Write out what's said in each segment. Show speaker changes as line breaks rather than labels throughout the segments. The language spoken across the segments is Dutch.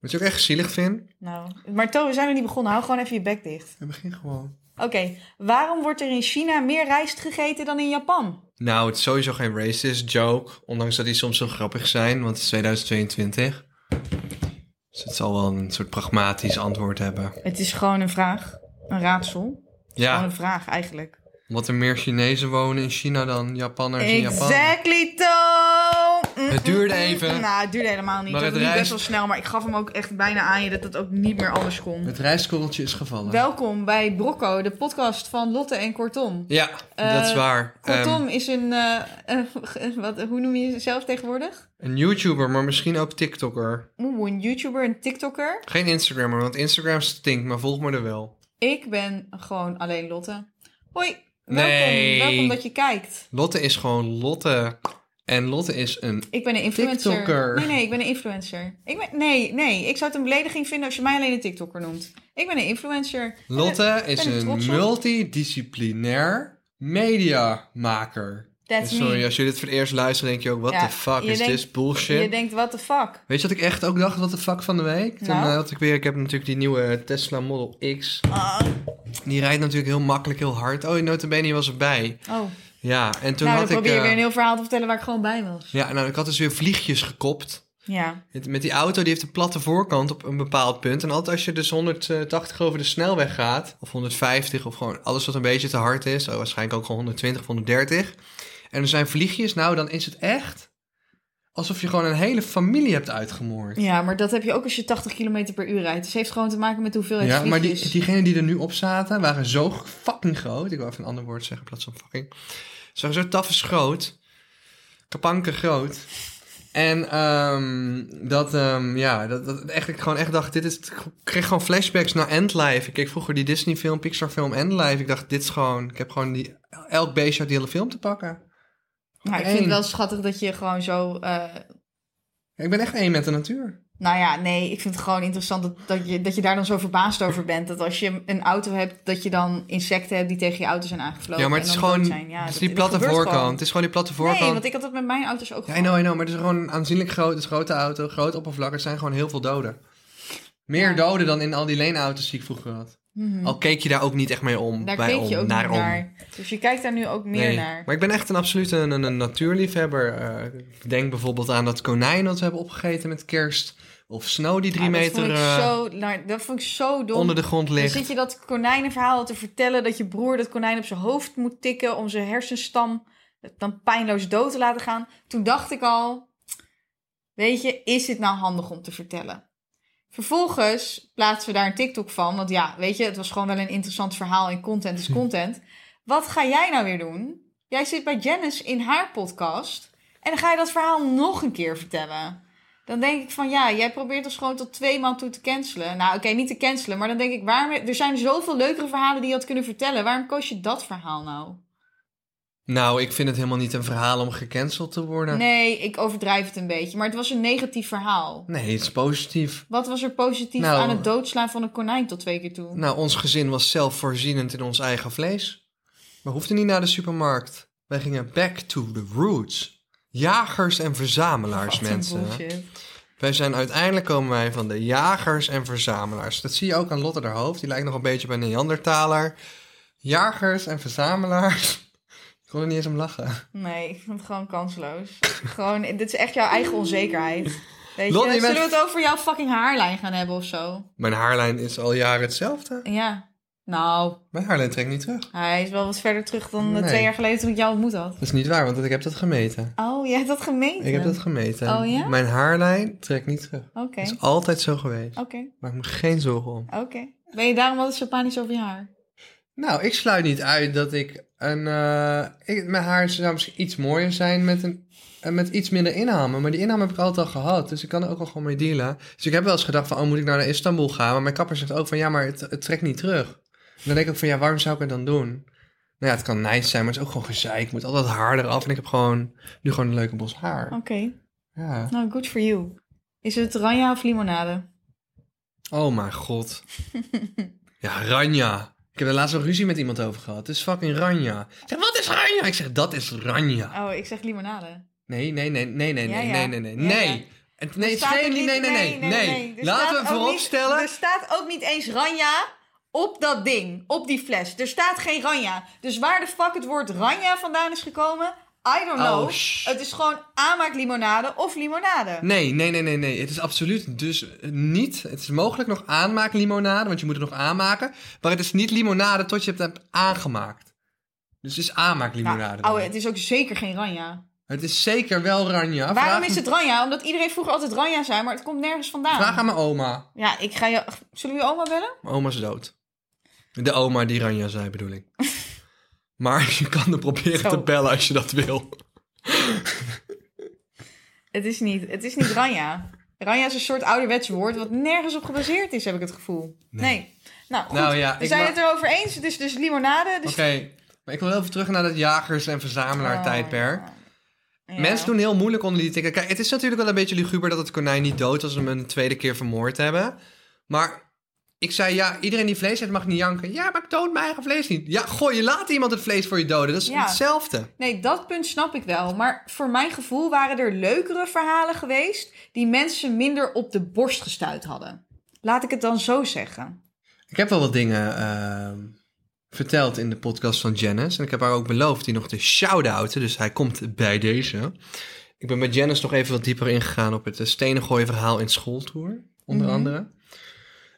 Wat je ook echt gezielig vindt.
Nou, maar To, we zijn nog niet begonnen. Hou gewoon even je bek dicht.
Ja, begin gewoon.
Oké, waarom wordt er in China meer rijst gegeten dan in Japan?
Nou, het is sowieso geen racist joke. Ondanks dat die soms zo grappig zijn, want het is 2022. Dus het zal wel een soort pragmatisch antwoord hebben.
Het is gewoon een vraag. Een raadsel. Gewoon
Ja,
een vraag eigenlijk.
omdat er meer Chinezen wonen in China dan Japanners in Japan.
Exactly, To! Mm,
Het
mm,
duurde
mm.
even.
Nou, het duurde helemaal niet.
Maar
dat
het
was niet best
rijst-
wel snel, maar ik gaf hem ook echt bijna aan je dat het ook niet meer anders kon.
Het rijstkorreltje is gevallen.
Welkom bij Brocco, de podcast van Lotte en Kortom.
Ja,
Eh,
dat is waar.
Kortom
Ehm,
is een, eh, eh, wat, hoe noem je jezelf tegenwoordig?
een YouTuber, maar misschien ook TikToker.
Oeh, een YouTuber, een TikToker.
Geen Instagrammer, want Instagram stinkt, maar volg me er wel.
Ik ben gewoon alleen Lotte. Hoi, welkom.
Nee.
Welkom dat je kijkt.
Lotte is gewoon Lotte. En Lotte is een...
Ik ben een influencer.
TikToker.
Nee, nee, ik ben een influencer. Ik ben, nee, nee, ik zou het een belediging vinden als je mij alleen een TikToker noemt. Ik ben een influencer.
Lotte is
ben ik
een
trots op.
multidisciplinair mediamaker.
That's
En Sorry,
me.
als je dit voor het eerst luistert, denk je ook, what
Ja,
the fuck
je
is
denkt-
this bullshit?
eh, Je denkt, what the fuck?
Weet je wat ik echt ook dacht, wat de fuck van de week? Toen
Nou?
eh, had ik weer, ik heb natuurlijk die nieuwe Tesla Model X.
Ah.
Die rijdt natuurlijk heel makkelijk, heel hard. Oh, notabene was erbij.
Oh,
Ja, en toen
nou, dan
had ik...
probeer je
eh,
weer een heel verhaal te vertellen waar ik gewoon bij was.
Ja, nou, ik had dus weer vliegjes gekopt.
Ja.
Het- Met die auto, die heeft een platte voorkant op een bepaald punt. En altijd als je dus 180 over de snelweg gaat, of 150, of gewoon alles wat een beetje te hard is, oh, waarschijnlijk ook gewoon 120 of 130. En er zijn vliegjes, nou, dan is het echt alsof je gewoon een hele familie hebt uitgemoord.
ja, maar dat heb je ook als je 80 km per uur rijdt. Dus het heeft gewoon te maken met de hoeveelheid
Ja, maar die,
vliegjes.
diegenen die er nu op zaten waren zo fucking groot. Ik wil even een ander woord zeggen in plaats van fucking. Ze waren zo tafels groot. Kapanken groot. En ehm, dat, ehm, ja, dat, dat echt, ik gewoon echt dacht, dit is, ik kreeg gewoon flashbacks naar Endlife. Ik keek vroeger die Disney film, Pixar film Endlife. Ik dacht, dit is gewoon, ik heb gewoon die, elk beestje uit die hele film te pakken.
Maar Nou, ik vind het
Eén.
wel schattig dat je gewoon zo... eh,
Ik ben echt één met de natuur.
nou ja, nee, ik vind het gewoon interessant dat, dat, je, dat je daar dan zo verbaasd over bent. Dat als je een auto hebt, dat je dan insecten hebt die tegen je auto zijn aangevlogen.
ja, maar
en
het is
dan dood
gewoon,
zijn. Ja,
het is die
dat- dat
platte
gebeurt
voorkant.
gewoon.
Het is gewoon die platte voorkant.
Nee, want ik had dat met mijn auto's ook
Ja, I
gewoon.
know, I know, maar het is gewoon een aanzienlijk groot, het is een grote auto, groot oppervlak. Er zijn gewoon heel veel doden. Meer
Ja.
doden dan in al die leenauto's die ik vroeger had.
Mhm.
Al keek je daar ook niet echt mee om.
Daar
bij
keek
om,
je ook
naar
niet
om.
naar. Dus je kijkt daar nu ook meer
Nee.
naar.
Maar ik ben echt een absolute een, een, een natuurliefhebber. Eh, ik denk bijvoorbeeld aan dat konijn dat we hebben opgegeten met kerst. Of snow die drie
Ah,
meter
Dat vond
eh,
ik zo, nou, dat vond ik zo dom.
onder de grond
dan
ligt.
zit je dat konijnenverhaal te vertellen dat je broer dat konijn op zijn hoofd moet tikken om zijn hersenstam dan pijnloos dood te laten gaan. Toen dacht ik al, weet je, is dit nou handig om te vertellen? Vervolgens plaatsen we daar een TikTok van, want ja, weet je, het was gewoon wel een interessant verhaal en content is content. Wat ga jij nou weer doen? Jij zit bij Janice in haar podcast en dan ga je dat verhaal nog een keer vertellen. Dan denk ik van ja, jij probeert ons gewoon tot twee maal toe te cancelen. Nou, oké, niet te cancelen, maar dan denk ik, waarom, er zijn zoveel leukere verhalen die je had kunnen vertellen. Waarom koos je dat verhaal nou?
Nou, ik vind het helemaal niet een verhaal om gecanceld te worden.
Nee, ik overdrijf het een beetje, maar het was een negatief verhaal.
Nee, het is positief.
Wat was er positief
Nou,
aan het doodslaan van een konijn tot twee keer toe?
Nou, ons gezin was zelfvoorzienend in ons eigen vlees. We hoefden niet naar de supermarkt. Wij gingen back to the roots. Jagers en verzamelaars,
Wat een
mensen.
bullshit.
Wij zijn uiteindelijk komen wij van de jagers en verzamelaars. Dat zie je ook aan Lotte haar hoofd. Die lijkt nog een beetje op een Neandertaler. Jagers en verzamelaars. Ik kon er niet eens om lachen.
Nee, ik vind het gewoon kansloos. gewoon, dit is echt jouw eigen onzekerheid. Weet
Lotte,
je,
je bent-
zullen we het over jouw fucking haarlijn gaan hebben of zo?
Mijn haarlijn is al jaren hetzelfde.
Ja. Nou,
Mijn haarlijn trekt niet terug.
hij is wel wat verder terug dan eh,
Nee.
twee jaar geleden toen ik jou ontmoet had.
Dat is niet waar, want ik heb dat gemeten.
Oh, jij hebt dat gemeten?
Ik heb dat gemeten.
Oh ja?
Mijn haarlijn trekt niet terug.
Oké,
Het is altijd zo geweest.
oké,
Maak me geen zorgen om.
oké. Ben je daarom altijd zo panisch over je haar?
Nou, ik sluit niet uit dat ik een. eh, ik, mijn haar zou misschien iets mooier zijn met, een, eh, met iets minder inhamen. Maar die inham heb ik altijd al gehad. Dus ik kan er ook al gewoon mee dealen. Dus ik heb wel eens gedacht: van, oh, moet ik nou naar Istanbul gaan? Maar mijn kapper zegt ook van ja, maar het, het trekt niet terug. En dan denk ik ook van ja, waarom zou ik het dan doen? Nou ja, het kan nice zijn, maar het is ook gewoon gezeik. Ik moet altijd haar eraf. En ik heb gewoon nu gewoon een leuke bos haar.
Oké,
Ja.
nou, good for you. Is het ranja of limonade?
Oh mijn god. ja, Ranja. Ik heb er laatst wel ruzie met iemand over gehad. Het is fucking Ranja. Ik zeg, wat is Ranja? Ik zeg, dat is Ranja.
Oh, ik zeg limonade.
Nee, nee, nee, nee, nee,
Ja,
nee,
ja.
nee, nee, nee,
Ja,
nee.
ja.
En, nee, het is
Staat er
geen,
niet-
nee, nee, nee. nee,
Er staat
Laten we
ook
vooropstellen.
niet- Er staat ook niet eens Ranja op dat ding, op die fles. Er staat geen Ranja. Dus waar de fuck het woord Ranja vandaan is gekomen, I don't
Oh,
know.
shh.
het is gewoon aanmaaklimonade of limonade.
Nee, nee, nee, nee, nee. Het is absoluut dus niet. Het is mogelijk nog aanmaaklimonade, want je moet het nog aanmaken. Maar het is niet limonade tot je het hebt aangemaakt. Dus het is
Nou,
aanmaaklimonade.
ouwe,
dan.
het is ook zeker geen Ranja.
het is zeker wel ranja.
Waarom
vraag,
is het Ranja? Omdat iedereen vroeger altijd Ranja zei, maar het komt nergens vandaan.
Vraag aan mijn oma.
Ja, ik ga je... Zullen we je oma bellen?
Mijn oma is dood. De oma die ranja zei, bedoel ik. maar je kan er proberen
Zo.
te bellen als je dat wil.
Het is niet, het is niet Ranja. Ranja is een soort ouderwets woord wat nergens op gebaseerd is, heb ik het gevoel. Nee. Nou, goed.
Nou ja,
we
ik
zijn
ma-
het erover eens. Het is dus limonade. Dus...
Oké, maar ik wil even terug naar dat jagers- en
Oh,
verzamelaar-tijdperk.
ja.
Mensen doen heel moeilijk onder die tikken. Kijk, het is natuurlijk wel een beetje luguber dat het konijn niet dood was als we hem een tweede keer vermoord hebben. Maar ik zei, ja, iedereen die vlees heeft mag niet janken. Ja, maar ik dood mijn eigen vlees niet. Ja, goh, je laat iemand het vlees voor je doden. Dat is
Ja.
hetzelfde.
Nee, dat punt snap ik wel. Maar voor mijn gevoel waren er leukere verhalen geweest die mensen minder op de borst gestuurd hadden. Laat ik het dan zo zeggen.
Ik heb wel wat dingen ehm, verteld in de podcast van Janice. En ik heb haar ook beloofd die nog te shout-outen. Dus hij komt bij deze. Ik ben met Janice nog even wat dieper ingegaan op het eh, stenen gooien verhaal in schooltour. Onder
Mhm.
andere.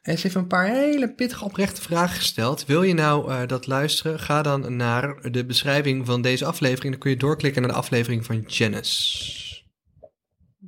En ze heeft een paar hele pittige oprechte vragen gesteld. Wil je nou eh, dat luisteren? Ga dan naar de beschrijving van deze aflevering. Dan kun je doorklikken naar de aflevering van Janice.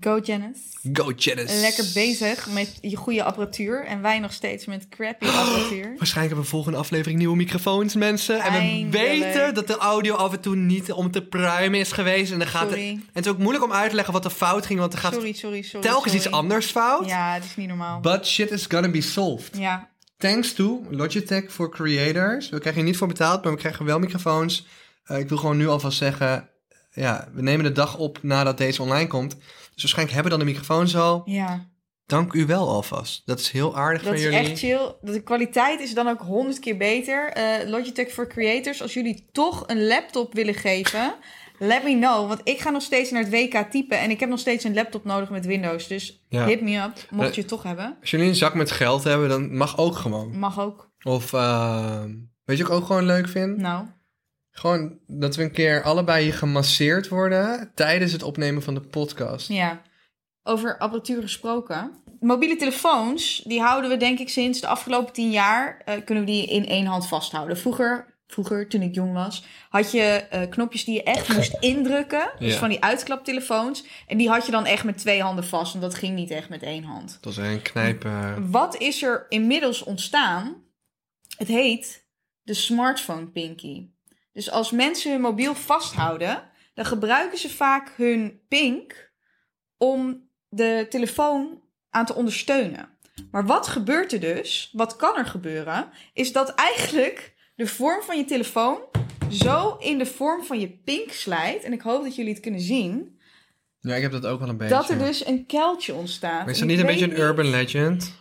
Go Janice.
Go Janice!
Lekker bezig met je goede apparatuur. En wij nog steeds met crappy apparatuur.
Waarschijnlijk hebben we volgende aflevering nieuwe microfoons, mensen. En we
Eindelijk.
weten dat de audio af en toe niet om te pruimen is geweest. En, dan gaat het,
Sorry.
en het is ook moeilijk om uit te leggen wat er fout ging, want er gaat
Sorry, sorry, sorry.
telkens
sorry.
iets anders fout.
Ja, het is niet normaal.
But shit is gonna be solved.
Ja,
Thanks to Logitech for Creators. We krijgen hier niet voor betaald, maar we krijgen wel microfoons. Eh, ik wil gewoon nu alvast zeggen, ja, we nemen de dag op nadat deze online komt. Dus waarschijnlijk hebben we dan de microfoons al.
ja.
Dank u wel alvast. Dat is heel aardig
Dat
van
is
jullie.
echt chill. De kwaliteit is dan ook honderd keer beter. Eh, Logitech for Creators, als jullie toch een laptop willen geven, let me know. Want ik ga nog steeds naar het WK typen en ik heb nog steeds een laptop nodig met Windows. Dus
Ja.
hit me up, mocht
Eh.
je het toch hebben.
Als jullie een zak met geld hebben, dan mag ook gewoon.
Mag ook.
Of ehm, weet je wat ik ook gewoon leuk vind?
Nou,
Gewoon dat we een keer allebei hier gemasseerd worden tijdens het opnemen van de podcast.
ja. Over apparatuur gesproken. Mobiele telefoons, die houden we denk ik sinds de afgelopen tien jaar, eh, kunnen we die in één hand vasthouden. Vroeger... Vroeger, toen ik jong was, had je eh, knopjes die je echt moest indrukken. Dus
Ja.
van die uitklaptelefoons. En die had je dan echt met twee handen vast, want dat ging niet echt met één hand.
Dat is een knijpen.
Wat is er inmiddels ontstaan? Het heet de smartphone pinky. Dus als mensen hun mobiel vasthouden, dan gebruiken ze vaak hun pink om de telefoon aan te ondersteunen. Maar wat gebeurt er dus? Wat kan er gebeuren? Is dat eigenlijk de vorm van je telefoon zo in de vorm van je pink slijt. En ik hoop dat jullie het kunnen zien.
Ja, ik heb dat ook wel een beetje.
Dat er dus een kuiltje ontstaat.
Maar is
En
dat niet
ik
een
weet
beetje een urban legend?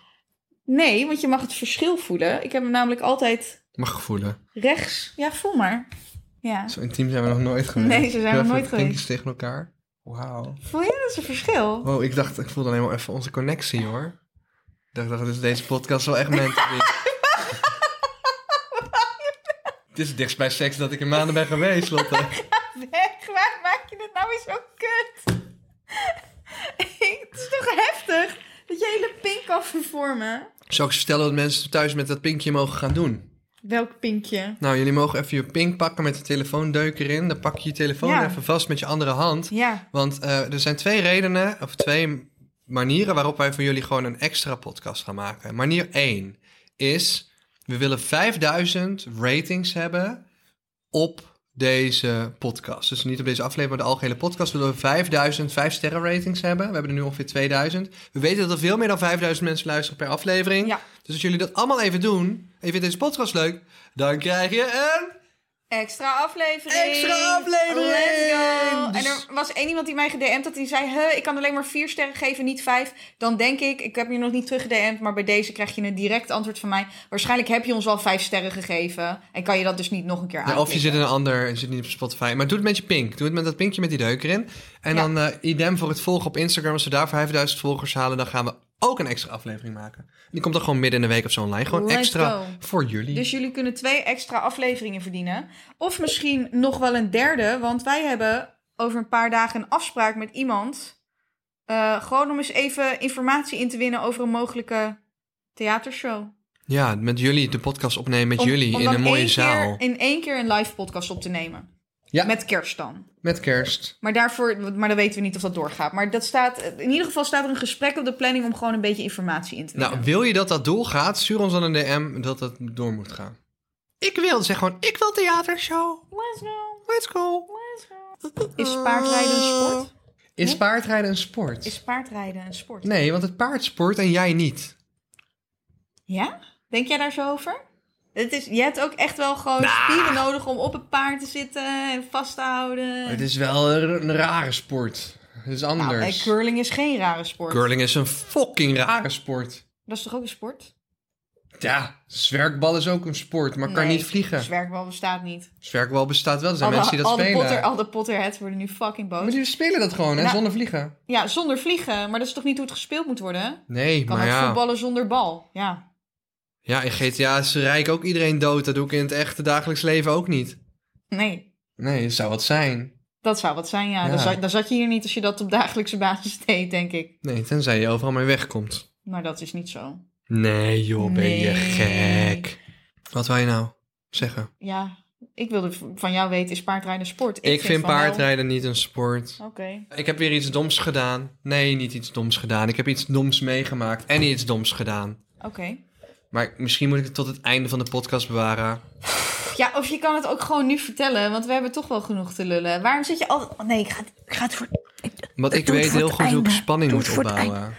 Nee, want je mag het verschil voelen. Ik heb hem namelijk altijd
Mag gevoelen.
rechts. Ja, voel maar. Ja.
Zo intiem zijn we nog nooit geweest.
Nee, zo zijn we
Even
nooit geweest.
vinkjes tegen elkaar. Wauw.
Voel je dat is een verschil?
Wow, ik dacht, ik voelde alleen maar even onze connectie hoor. Ik dacht, dacht dus deze podcast wel echt meant to be. Dit is het dichtst bij seks dat ik in maanden ben geweest, Lotte.
Weg, waar maak je dit nou weer zo kut? het is toch heftig dat je hele pink kan vervormen?
Zou ik eens vertellen wat mensen thuis met dat pinkje mogen gaan doen?
Welk pinkje?
Nou, jullie mogen even je pink pakken met de telefoondeuk erin. Dan pak je je telefoon
Ja.
even vast met je andere hand.
Ja.
Want eh, er zijn twee redenen, of twee manieren waarop wij voor jullie gewoon een extra podcast gaan maken. Manier 1 is, we willen 5000 ratings hebben op deze podcast. Dus niet op deze aflevering, maar de algehele podcast willen we 5000 5 sterren ratings hebben. We hebben er nu ongeveer 2000. We weten dat er veel meer dan 5000 mensen luisteren per aflevering.
Ja.
Dus als jullie dat allemaal even doen en je vindt deze podcast leuk, dan krijg je een
Extra aflevering.
Extra aflevering!
Let's go.
Dus-
En er was één iemand die mij gedm'd had. Die zei, huh, ik kan alleen maar vier sterren geven, niet vijf. Dan denk ik, ik heb je nog niet teruggedm'd. Maar bij deze krijg je een direct antwoord van mij. Waarschijnlijk heb je ons wel vijf sterren gegeven. En kan je dat dus niet nog een keer
Ja,
aanklikken.
Nou, of je zit in een ander en zit niet op Spotify. Maar doe het met je pink. Doe het met dat pinkje met die deuk erin. En
Ja.
dan eh, idem voor het volgen op Instagram. Als we daar 5000 volgers halen, dan gaan we ook een extra aflevering maken. Die komt dan gewoon midden in de week of zo online. Gewoon
Let's
extra
go.
voor jullie.
Dus jullie kunnen twee extra afleveringen verdienen. Of misschien nog wel een derde, want wij hebben over een paar dagen een afspraak met iemand. eh, gewoon om eens even informatie in te winnen over een mogelijke theatershow.
Ja, met jullie de podcast opnemen met
Om-
jullie
om
in
dan
een mooie
één
zaal.
Keer, in één keer een live podcast op te nemen.
Ja.
Met kerst dan.
Met kerst.
Maar daarvoor, maar dan weten we niet of dat doorgaat. Maar dat staat, in ieder geval staat er een gesprek op de planning om gewoon een beetje informatie in te winnen.
Nou, wil je dat dat doorgaat? Stuur ons dan een DM dat dat door moet gaan. Ik wil, zeg gewoon, ik wil theatershow.
Let's go,
Let's go.
let's go. Is paardrijden een sport?
Is paardrijden een sport?
Is paardrijden een sport?
Nee, want het paard sport en jij niet.
Ja? Denk jij daar zo over? Het is, je hebt ook echt wel gewoon
Nah.
spieren nodig om op het paard te zitten en vast te houden.
Het is wel een, een rare sport. Het is
Nou, eh,
anders.
curling is geen rare sport.
Curling is een fucking rare sport.
Dat is toch ook een sport?
Ja, zwerkbal is ook een sport, maar kan
Nee,
niet vliegen.
Zwerkbal bestaat niet.
Zwerkbal bestaat wel. Er zijn
Al de-
mensen die dat
al de
spelen.
Potter, al de Potterheads worden nu fucking boos.
maar die spelen dat gewoon, hè,
Nou-
zonder vliegen.
Ja, zonder vliegen. Maar dat is toch niet hoe het gespeeld moet worden? hè?
Nee,
Kan
maar
ook
Nou ja.
voetballen zonder bal. Ja.
Ja, in GTA is rijk ook iedereen dood. Dat doe ik in het echte dagelijks leven ook niet.
Nee,
Nee, het zou wat zijn.
dat zou wat zijn. Ja.
Ja.
Dan, zat, dan zat je hier niet als je dat op dagelijkse basis deed, denk ik.
Nee, tenzij je overal mee wegkomt.
Maar dat is niet zo.
Nee, joh, ben je
Nee.
gek. Wat wil je nou zeggen?
Ja, ik wilde v- van jou weten, is paardrijden sport?
Ik, vind
van wel.
paardrijden niet een sport.
Oké.
Ik heb weer iets doms gedaan. Nee, niet iets doms gedaan. Ik heb iets doms meegemaakt en iets doms gedaan.
Oké.
Maar misschien moet ik het tot het einde van de podcast bewaren.
Ja, of je kan het ook gewoon nu vertellen, want we hebben toch wel genoeg te lullen. Waarom zit je altijd... Oh, nee, ik ga, het- ik ga het voor...
Want ik
Doe het
weet
voor
heel
het
goed hoe ik
einde.
spanning
Doe
moet
het voor het
opbouwen.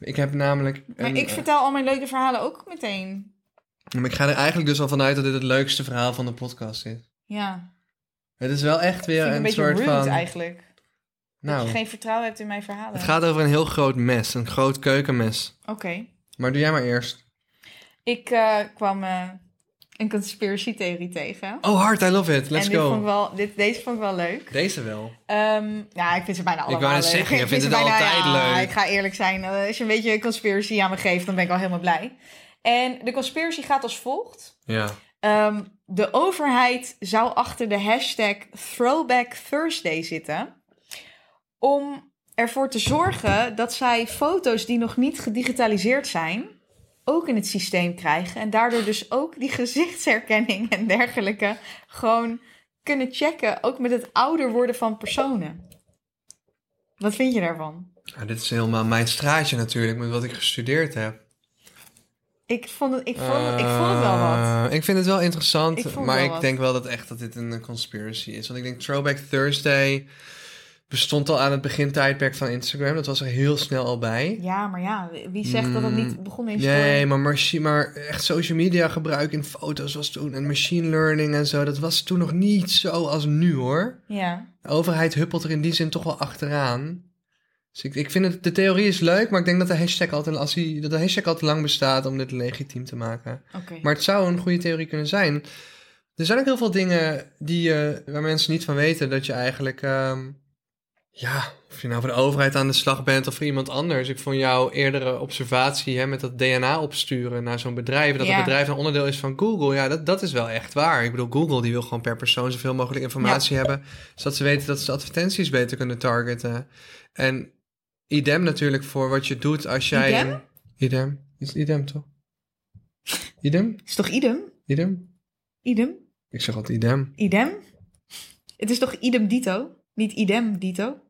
Ik heb namelijk...
Maar
een-
ik vertel al mijn leuke verhalen ook meteen.
Maar ik ga er eigenlijk dus al vanuit dat dit het leukste verhaal van de podcast is.
Ja,
Het is wel echt weer
vind ik een
een,
beetje
soort
rude
van...
eigenlijk. Dat
Nou,
je geen vertrouwen hebt in mijn verhalen.
het gaat over een heel groot mes. Een groot keukenmes.
Oké.
Maar doe jij maar eerst.
Ik eh, kwam eh, een conspiracy theorie tegen.
Oh, hard, I love it. Let's
en dit
go.
Vond ik wel, dit, deze vond ik wel leuk.
Deze wel.
Ehm, ja, ik vind ze bijna allemaal
wou net
leuk.
zeggen, je
Ik
vindt
vind
het
ze bijna-
altijd
ja,
leuk.
Ik ga eerlijk zijn. eh, Als je een beetje conspiracy aan me geeft, dan ben ik al helemaal blij. En de conspiracy gaat als volgt.
Ja.
Ehm, de overheid zou achter de hashtag Throwback Thursday zitten. Om ervoor te zorgen dat zij foto's die nog niet gedigitaliseerd zijn, ook in het systeem krijgen. En daardoor dus ook die gezichtsherkenning en dergelijke gewoon kunnen checken. Ook met het ouder worden van personen. Wat vind je daarvan?
Nou, dit is helemaal mijn straatje natuurlijk, met wat ik gestudeerd heb.
Ik vond het, ik vond het, ik vond het wel wat.
Eh, ik vind het wel
Ik
interessant,
vond het
maar
wel
ik
wat.
denk wel dat echt dat dit een eh, conspiracy is. Want ik denk Throwback Thursday bestond al aan het begintijdperk van Instagram. Dat was er heel snel al bij.
Ja, maar ja, wie zegt dat het niet begonnen is?
Eh. Mm, Nee,
door-
maar, machi- maar echt social media gebruik in foto's was toen en machine learning en zo. Dat was toen nog niet zo als nu hoor.
Ja.
De overheid huppelt er in die zin toch wel achteraan. Dus ik, ik vind het, de theorie is leuk, maar ik denk dat de hashtag al te, als die, dat de hashtag al te lang bestaat om dit legitiem te maken.
Oké.
Maar het zou een goede theorie kunnen zijn. Er zijn ook heel veel dingen die, eh, waar mensen niet van weten dat je eigenlijk. ehm, ja, of je nou voor de overheid aan de slag bent of voor iemand anders. Ik vond jouw eerdere observatie hè, met dat DNA opsturen naar zo'n bedrijf. Dat
Ja.
het bedrijf een onderdeel is van Google. Ja, dat, dat is wel echt waar. Ik bedoel, Google die wil gewoon per persoon zoveel mogelijk informatie hebben. Zodat ze weten dat ze advertenties beter kunnen targeten. En idem natuurlijk voor wat je doet als jij.
Idem?
een- idem. Is idem toch? Idem?
Het is toch idem?
Idem?
Idem?
Ik zeg altijd idem.
Idem? Het is toch idem dito? Niet idem dito?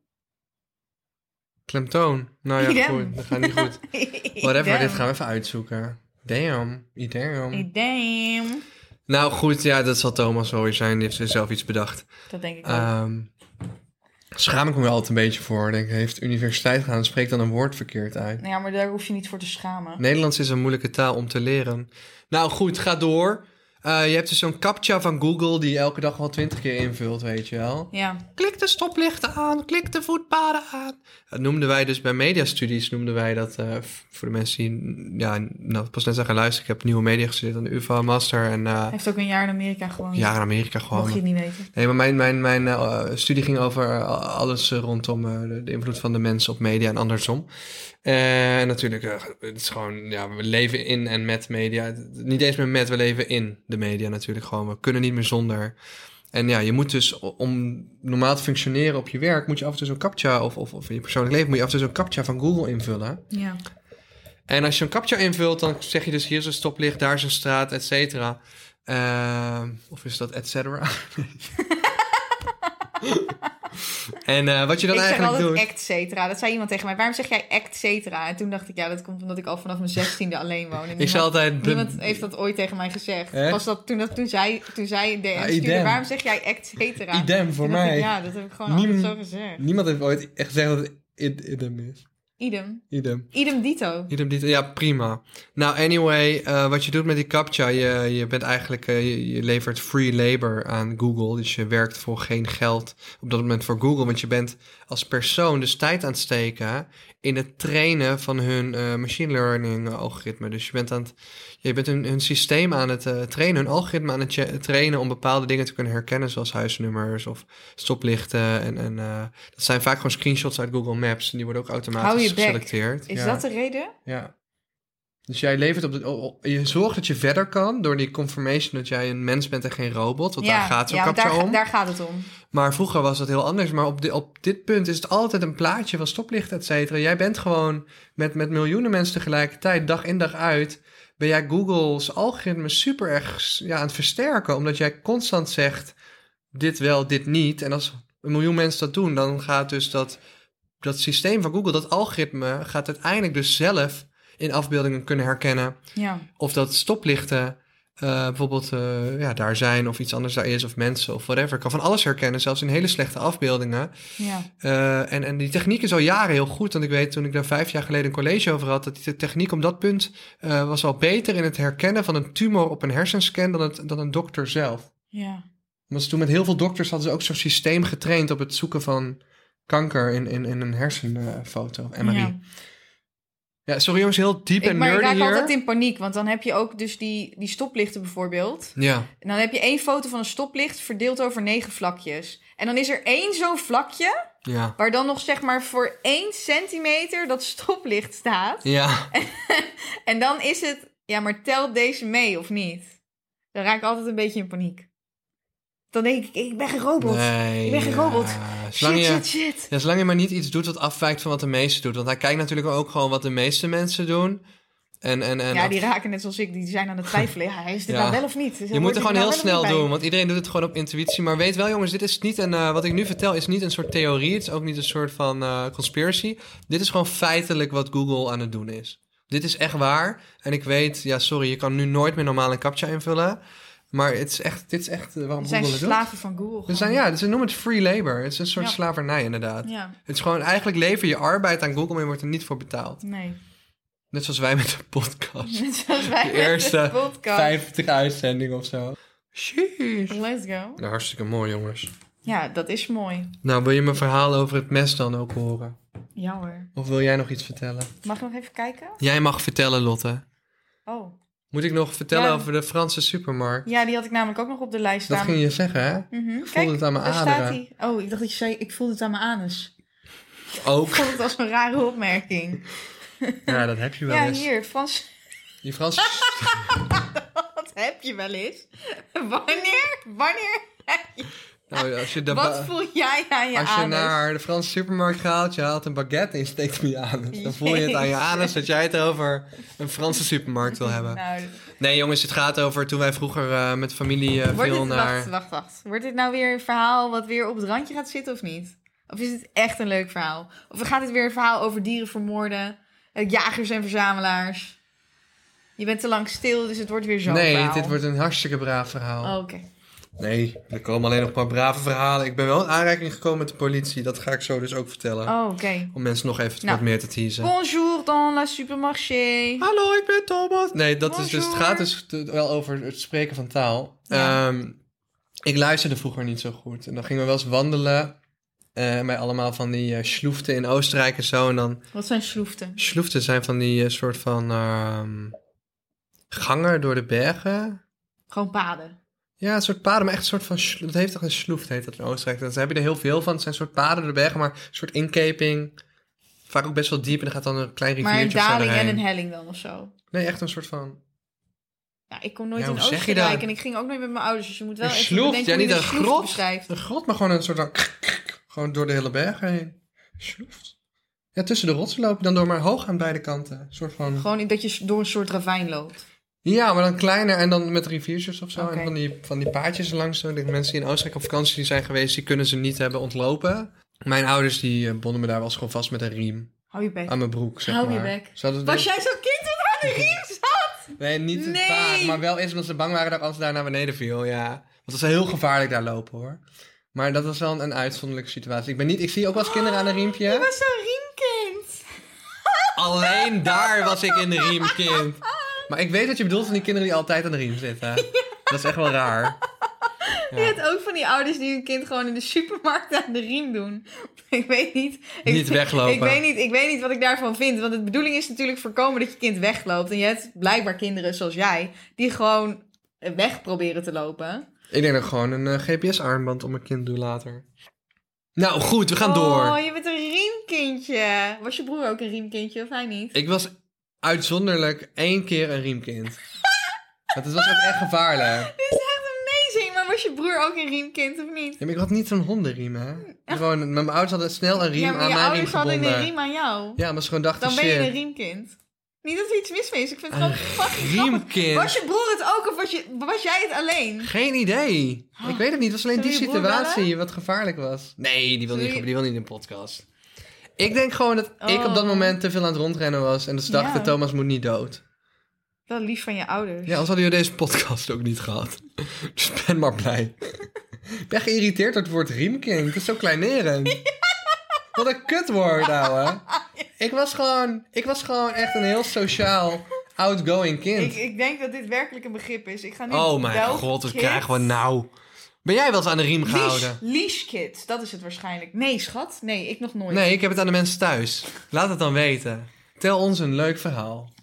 Klemtoon. Nou ja,
Idem.
goed. Dat gaat niet goed. Whatever,
Idem.
dit gaan we even uitzoeken. Damn. Idem.
Idem.
Nou goed, ja, dat zal Thomas wel weer zijn. Die heeft weer zelf iets bedacht.
Dat denk ik ook.
Ehm schaam ik me wel altijd een beetje voor. Denk, ik, heeft universiteit gedaan, spreekt dan een woord verkeerd uit.
Nou ja, maar daar hoef je niet voor te schamen.
Nederlands is een moeilijke taal om te leren. Nou goed, ga door. Eh, je hebt dus zo'n captcha van Google die je elke dag wel twintig keer invult, weet je wel.
Ja.
Klik de stoplichten aan, klik de voetpaden aan. Dat noemden wij dus bij mediastudies, noemden wij dat eh, f- voor de mensen die mm, ja, nou, pas net zijn gaan luisteren. Ik heb nieuwe media gestudeerd aan de UvA, master en eh
Hij heeft ook een jaar in Amerika gewoond.
ja, in Amerika gewoon.
Mocht je het niet weten.
Nee, maar mijn, mijn, mijn eh, studie ging over eh, alles eh, rondom eh, de, de invloed van de mensen op media en andersom. En natuurlijk, eh, het is gewoon, ja, we leven in en met media. Het- Niet eens meer met, we leven in de media natuurlijk gewoon. We kunnen niet meer zonder. En ja, je moet dus o- om normaal te functioneren op je werk, moet je af en toe zo'n captcha, of, of, of in je persoonlijk leven, moet je af en toe zo'n captcha van Google invullen.
Ja.
En als je een captcha invult, dan zeg je dus hier is een stoplicht, daar is een straat, et cetera. Ehm, of is dat et cetera? en eh, wat je dan
ik zeg
eigenlijk
altijd
doet...
act cetera. Dat zei iemand tegen mij. Waarom zeg jij act cetera? En toen dacht ik, ja, dat komt omdat ik al vanaf mijn zestiende alleen woon. En
ik zei
niemand,
altijd... de-
niemand heeft dat ooit tegen mij gezegd.
Echt?
Was dat, toen, dat, toen zij, toen zij DM
Ah,
stuurde,
idem.
waarom zeg jij act cetera?
idem voor
Toen dacht ik,
mij.
ja, dat heb ik gewoon
Niem-
altijd zo gezegd.
Niemand heeft ooit echt gezegd dat het id- idem is.
Idem.
Idem.
Idem dito.
Idem dit, ja, prima. Nou, anyway, eh, wat je doet met die CAPTCHA, je, je bent eigenlijk, eh, je, je levert free labor aan Google. Dus je werkt voor geen geld op dat moment voor Google. Want je bent als persoon dus tijd aan het steken in het trainen van hun eh, machine learning algoritme. Dus je bent aan het, je bent hun, hun systeem aan het eh, trainen, hun algoritme aan het cha- trainen om bepaalde dingen te kunnen herkennen, zoals huisnummers of stoplichten. En, en eh, dat zijn vaak gewoon screenshots uit Google Maps. En die worden ook
Hou
automatisch
je bek.
geselecteerd.
Is
Ja.
dat de reden?
Ja. Dus jij levert op de, o- o- je zorgt dat je verder kan door die confirmation dat jij een mens bent en geen robot. Want daar gaat zo'n
ja, want
captcha
daar,
om.
daar gaat het om.
Maar vroeger was dat heel anders. Maar op, di- op dit punt is het altijd een plaatje van stoplicht, et cetera. Jij bent gewoon met, met miljoenen mensen tegelijkertijd, dag in dag uit, ben jij Google's algoritme super erg s- ja, aan het versterken. Omdat jij constant zegt, dit wel, dit niet. En als een miljoen mensen dat doen, dan gaat dus dat, dat systeem van Google, dat algoritme, gaat uiteindelijk dus zelf in afbeeldingen kunnen herkennen
Ja.
of dat stoplichten eh, bijvoorbeeld eh, ja, daar zijn of iets anders daar is of mensen of whatever. Ik kan van alles herkennen, zelfs in hele slechte afbeeldingen.
ja.
Eh, en, en die techniek is al jaren heel goed. Want ik weet toen ik daar vijf jaar geleden een college over had... dat die te- techniek om dat punt eh, was al beter in het herkennen van een tumor op een hersenscan... dan, het, dan een dokter zelf.
Ja.
Want ze toen met heel veel dokters hadden ze ook zo'n systeem getraind... op het zoeken van kanker in, in, in een hersenfoto, MRI. Ja.
Ja.
sorry jongens, heel diep
Ik,
en
maar ik
nerdy
raak
hier.
altijd in paniek, want dan heb je ook dus die, die stoplichten bijvoorbeeld.
Ja,
En dan heb je één foto van een stoplicht verdeeld over negen vlakjes. En dan is er één zo'n vlakje
ja,
waar dan nog zeg maar voor één centimeter dat stoplicht staat.
ja.
En dan is het, ja, maar telt deze mee of niet? Dan raak ik altijd een beetje in paniek. Dan denk ik, ik ben geen robot.
Nee,
Ik ben geen
ja.
robot.
Zolang
shit,
je,
shit, shit.
ja, zolang je maar niet iets doet wat afwijkt van wat de meeste doet. Want hij kijkt natuurlijk ook gewoon wat de meeste mensen doen. En, en, en
Ja, die raken net zoals ik, die zijn aan het twijfelen. Ja, is dit
Ja.
nou wel of niet?
je moet het gewoon
nou
heel snel doen, want iedereen doet het gewoon op intuïtie. Maar weet wel, jongens, dit is niet een. eh, wat ik nu vertel is niet een soort theorie. Het is ook niet een soort van eh, conspiracy. Dit is gewoon feitelijk wat Google aan het doen is. Dit is echt waar. En ik weet, ja, sorry, je kan nu nooit meer normaal een captcha invullen. Maar het is echt, dit is echt eh, waarom
We zijn
Google het doet.
slaven van Google.
We zijn,
gewoon.
ja, ze noemen het free labor. Het is een soort
Ja.
slavernij, inderdaad.
Ja,
Het is gewoon eigenlijk lever je arbeid aan Google, maar je wordt er niet voor betaald.
nee.
Net zoals wij met de podcast.
Net zoals wij
De
met de
eerste
podcast.
50 uitzendingen of zo. Sheesh.
Let's go.
Nou, hartstikke mooi, jongens.
Ja, dat is mooi.
Nou, wil je mijn verhaal over het mes dan ook horen?
Ja hoor.
Of wil jij nog iets vertellen?
Mag ik nog even kijken?
Jij mag vertellen, Lotte.
Oh.
Moet ik nog vertellen
Ja.
over de Franse supermarkt?
Ja, die had ik namelijk ook nog op de lijst
Dat
staan.
ging je zeggen, hè?
Mhm.
voelde
Kijk,
het aan mijn
daar
aderen.
staat hij. Oh, ik dacht dat je zei, ik voelde het aan mijn anus. Ik
Ook.
vond het als een rare opmerking.
Ja, dat heb je wel
Ja,
eens.
hier, Frans,
Die Franse...
wat heb je wel eens? Wanneer, wanneer,
nou, als je, de ba-
wat voel jij aan je
als je
anus?
naar de Franse supermarkt gaat, je haalt een baguette en je steekt hem in je anus. Dan voel je het aan je
Jezus.
anus dat jij het over een Franse supermarkt wil hebben.
Nou,
Nee, jongens, het gaat over toen wij vroeger eh, met familie eh,
wordt
veel
dit,
naar.
wacht, wacht, wacht. Wordt dit nou weer een verhaal wat weer op het randje gaat zitten of niet? Of is het echt een leuk verhaal? Of gaat dit weer een verhaal over dieren vermoorden, eh, jagers en verzamelaars? Je bent te lang stil, dus het wordt weer zo'n
nee,
verhaal.
dit wordt een hartstikke braaf verhaal.
Oh, Oké.
Nee, er komen alleen nog maar brave verhalen. Ik ben wel in aanraking gekomen met de politie. Dat ga ik zo dus ook vertellen.
Oh, oké.
Om mensen nog even
Nou.
wat meer te teasen.
Bonjour dans la supermarché.
Hallo, ik ben Thomas. Nee, dat is dus, het
Bonjour.
gaat dus te- wel over het spreken van taal.
Ja.
Ehm, ik luisterde vroeger niet zo goed. En dan gingen we wel eens wandelen. eh, bij allemaal van die eh schloeften in Oostenrijk en zo. En dan
Wat zijn schroeften?
schloeften zijn van die eh, soort van ehm gangen door de bergen.
Gewoon paden.
Ja, een soort paden, maar echt een soort van... schlo- Dat heeft toch een schloeft, heet dat in Oostenrijk. Daar heb je er heel veel van. Het zijn een soort paden door de bergen, maar een soort inkeping. Vaak ook best wel diep en dan gaat dan een klein
Maar een
riviertje of zo
daling en
erheen.
een helling dan of zo.
Nee, echt een soort van...
Ja, ik kom nooit
Ja,
in
hoe zeg je
Oostenrijk
dat?
en ik ging ook nooit met mijn ouders. Dus je moet wel
Een
even
schroef?
bedenken
Ja,
hoe
niet
je
een
schroef
grot.
beschrijft.
Een grot, maar gewoon een soort van... Gewoon door de hele bergen heen. Schroeft. Ja, tussen de rotsen lopen, dan door maar hoog aan beide kanten. Een soort van...
Gewoon dat je door een soort ravijn loopt.
Ja, maar dan kleiner en dan met riviertjes of zo.
Oké.
En van die, van die paadjes langs. zo. De mensen die in Oostenrijk op vakantie die zijn geweest, die kunnen ze niet hebben ontlopen. Mijn ouders die eh, bonden me daar wel eens gewoon vast met een riem.
Hou je bek.
Aan mijn broek, zeg
Hou je
maar.
bek.
Ze hadden de-
Was jij zo'n kind dat aan de riem zat?
Nee, niet het
Nee.
paard, maar wel eens omdat ze bang waren dat ik als daar naar beneden viel, ja. Want het is heel gevaarlijk daar lopen, hoor. Maar dat was wel een, een uitzonderlijke situatie. Ik, ben niet, ik zie ook wel eens kinderen aan een
Je
riempje.
Oh, was zo'n riemkind.
Alleen daar was ik in de riemkind. Maar ik weet wat je bedoelt van die kinderen die altijd aan de riem zitten. Dat is echt wel raar. Ja.
Je hebt ook van die ouders die hun kind gewoon in de supermarkt aan de riem doen. Ik weet niet. Ik,
Niet weglopen.
Ik weet niet, ik weet niet wat ik daarvan vind. Want de bedoeling is natuurlijk voorkomen dat je kind wegloopt. En je hebt blijkbaar kinderen zoals jij die gewoon weg proberen te lopen.
Ik denk dat ik gewoon een eh, GPS-armband om mijn kind doe later. Nou goed, we gaan
Oh,
door.
je bent een riemkindje. Was je broer ook een riemkindje of hij niet?
Ik was uitzonderlijk één keer een riemkind. Want het was ook echt gevaarlijk.
Dit is echt amazing. Maar was je broer ook een riemkind of niet?
Ja, maar ik had niet zo'n hondenriem, hè? Gewoon, mijn mijn ouders hadden snel een riem
ja, maar
aan
je
mijn riem
ouders hadden
gebonden.
een riem aan jou.
Ja, maar ze gewoon dachten,
Dan ben je een
shit,
riemkind. Niet dat er iets mis mee is. Ik vind het gewoon fucking grappig.
riemkind.
Was je broer het ook of was, je, was jij het alleen?
Geen idee. Ik weet het niet, het was alleen die
Zullen we je broer
situatie wat gevaarlijk was. Nee, die wil,
Zullen
niet,
je-
die wil niet in de podcast. Ik denk gewoon dat ik op dat
Oh.
moment te veel aan het rondrennen was en dus dachten,
Ja.
Thomas moet niet dood.
Wel lief van je ouders.
Ja, anders hadden jullie deze podcast ook niet gehad. Dus ik ben maar blij. Ik ben geïrriteerd door het woord riemkind. Het is zo kleinerend. Wat een kutwoord, ouwe. Ik was gewoon, ik was gewoon echt een heel sociaal, outgoing
ik,
kind.
ik denk dat dit werkelijk een begrip is. Ik ga nu
oh mijn
Belg
god, wat
kid-
krijgen we nou? Ben jij wel eens aan de riem
Leash,
gehouden?
leash kid, dat is het waarschijnlijk. Nee, schat. Nee, ik nog nooit.
Nee, ik heb het aan de mensen thuis. Laat het dan weten. Tel ons een leuk verhaal.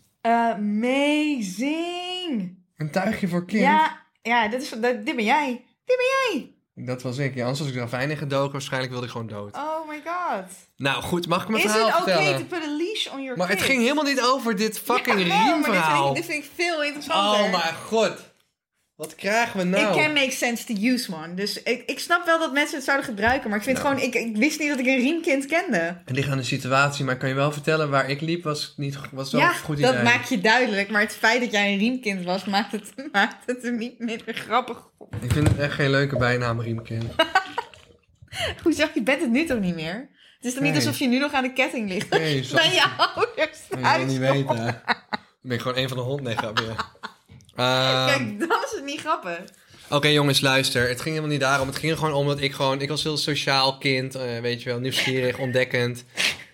Amazing.
Een tuigje voor kind.
Ja, ja dit, is, dat- dit ben jij. Dit ben jij.
Dat was ik. Ja, anders was ik er fijn in gedoken. Waarschijnlijk wilde ik gewoon dood.
Oh my god.
Nou goed, mag ik mijn
Is
verhaal
het oké
vertellen?
to put a leash on your
Maar
kid?
het ging helemaal niet over dit fucking
Ja, wel,
riemverhaal.
Maar dit vind, ik, dit vind ik veel interessanter.
Oh mijn god. Wat krijgen we nou?
Ik ken make sense to use, man. Dus ik, ik snap wel dat mensen het zouden gebruiken. Maar ik
Nou.
vind gewoon... Ik, ik wist niet dat ik een riemkind kende.
Het ligt aan de situatie, maar ik kan je wel vertellen waar ik liep was niet go- was wel
ja,
een goed idee.
dat maak je duidelijk. Maar het feit dat jij een riemkind was... maakt het, maakt het er niet minder grappig op.
Ik vind het echt geen leuke bijnaam Riemkind.
Hoezo? Je bent het nu toch niet meer? Het is toch niet
Nee.
alsof je nu nog aan de ketting ligt?
Nee, zo-
bij je ouders
Ik wil
thuis.
niet weten. Dan ben ik gewoon een van de hond. Nee, grapje. Ehm,
Kijk, dan is het niet grappig.
Oké jongens, luister. Het ging helemaal niet daarom. Het ging er gewoon om dat ik gewoon... Ik was heel sociaal kind, eh, weet je wel. Nieuwsgierig, ontdekkend.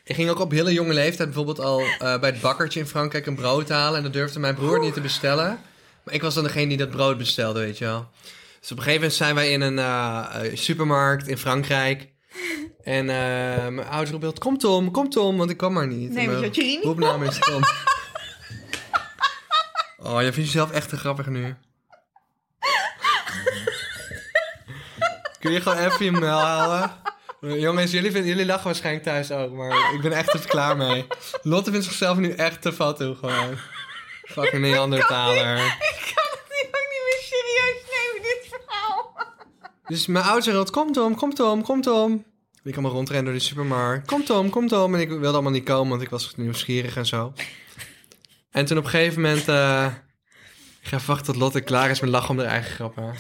Ik ging ook op hele jonge leeftijd bijvoorbeeld al eh, bij het bakkertje in Frankrijk een brood halen. En dat durfde mijn broer niet te bestellen. Maar ik was dan degene die dat brood bestelde, weet je wel. Dus op een gegeven moment zijn wij in een eh, eh, supermarkt in Frankrijk. En eh, mijn ouders roepen, kom Tom, kom Tom, want ik kwam maar niet. En
Nee, want je
mijn
had je riem niet
roepnaam is Tom. Oh, je vindt jezelf echt te grappig nu. Kun je gewoon even je mail halen? Jongens, jullie, vinden, jullie lachen waarschijnlijk thuis ook, maar ik ben echt er klaar mee. Lotte vindt zichzelf nu echt te fat toe, gewoon. Fucking Neandertaler.
Ik kan het nu ook niet meer serieus nemen, dit verhaal.
Dus mijn ouders zeggen altijd, kom Tom, kom Tom, kom Tom. Ik kan me rondrennen door de supermarkt. Kom Tom, kom Tom. En ik wilde allemaal niet komen, want ik was nieuwsgierig en zo. En toen op een gegeven moment... eh, ik ga even wachten tot Lotte klaar is met lachen om haar eigen grappen.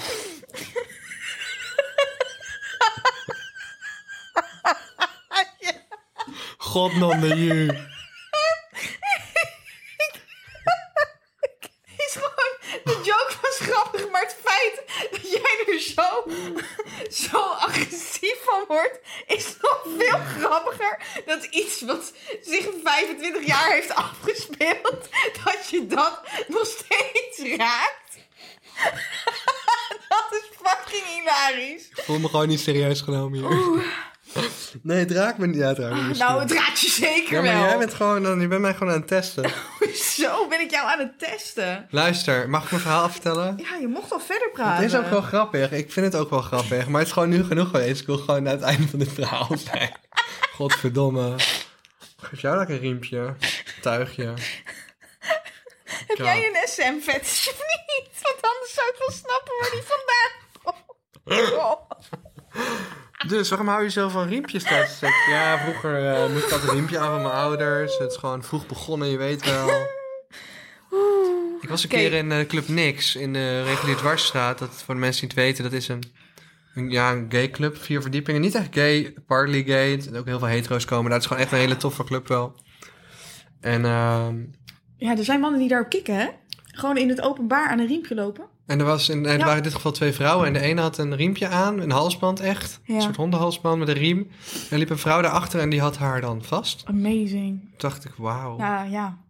God nam de you.
Het is gewoon, de joke was grappig, maar het feit dat jij er zo, zo agressief van wordt, is nog veel grappiger dat iets wat zich 25 jaar heeft afgespeeld, dat je dat nog steeds raakt. dat is fucking hilarisch.
Ik voel me gewoon niet serieus genomen hier. Nee, het raakt me niet. Ja, het raakt me misschien
Nou,
wel.
het raakt je zeker
Ja, maar
wel.
jij bent, gewoon, dan- je bent mij gewoon aan het testen.
Zo ben ik jou aan het testen.
Luister, mag ik mijn verhaal vertellen?
Ja, je mocht al verder
Het
praten.
is ook wel grappig. Ik vind het ook wel grappig. Maar het is gewoon nu genoeg geweest. Ik wil gewoon naar het einde van dit verhaal zijn. Godverdomme. Geef jou lekker een riempje. Tuigje.
Heb jij een SM-fetish of niet? Want anders zou ik wel snappen waar die vandaan komt.
Dus waarom hou je zo van riempjes thuis? Ik zeg, Ja, vroeger eh, moest ik altijd een riempje aan van mijn ouders. Het is gewoon vroeg begonnen, je weet wel. Ik was een
Oké.
keer in eh, Club Nix in de Regulier Dwarsstraat. Dat, voor de mensen die het weten, dat is een, een, ja, een gay club. Vier verdiepingen. Niet echt gay, partly gay. Er zijn ook heel veel hetero's komen. Dat is gewoon echt een hele toffe club wel. En, ehm,
Ja, er zijn mannen die daarop kikken, hè? Gewoon in het openbaar aan een riempje lopen.
en er, was een, er
Ja.
waren in dit geval twee vrouwen. En de ene had een riempje aan, een halsband echt.
Ja.
Een soort hondenhalsband met een riem. En liep een vrouw daarachter en die had haar dan vast.
Amazing.
Toen dacht ik, wauw.
Ja, ja.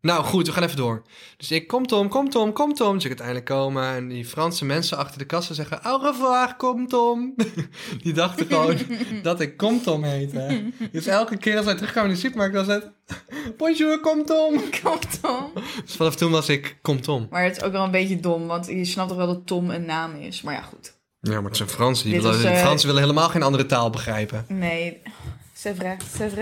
Nou goed, we gaan even door. Dus ik, kom Tom, kom Tom, kom Tom. Dus ik uiteindelijk komen en die Franse mensen achter de kassa zeggen... Au revoir, kom Tom. die dachten gewoon dat ik kom Tom heette. Dus elke keer als wij terugkwamen in de supermarkt was het... Bonjour, kom Tom.
Klopt, Tom.
Dus vanaf toen was ik kom Tom.
Maar het is ook wel een beetje dom, want je snapt toch wel dat Tom een naam is. Maar ja, goed.
Ja, maar het zijn Fransen. Die
Dit
willen,
was, eh,
de Fransen willen helemaal geen andere taal begrijpen.
Nee, c'est vrai, c'est vrai.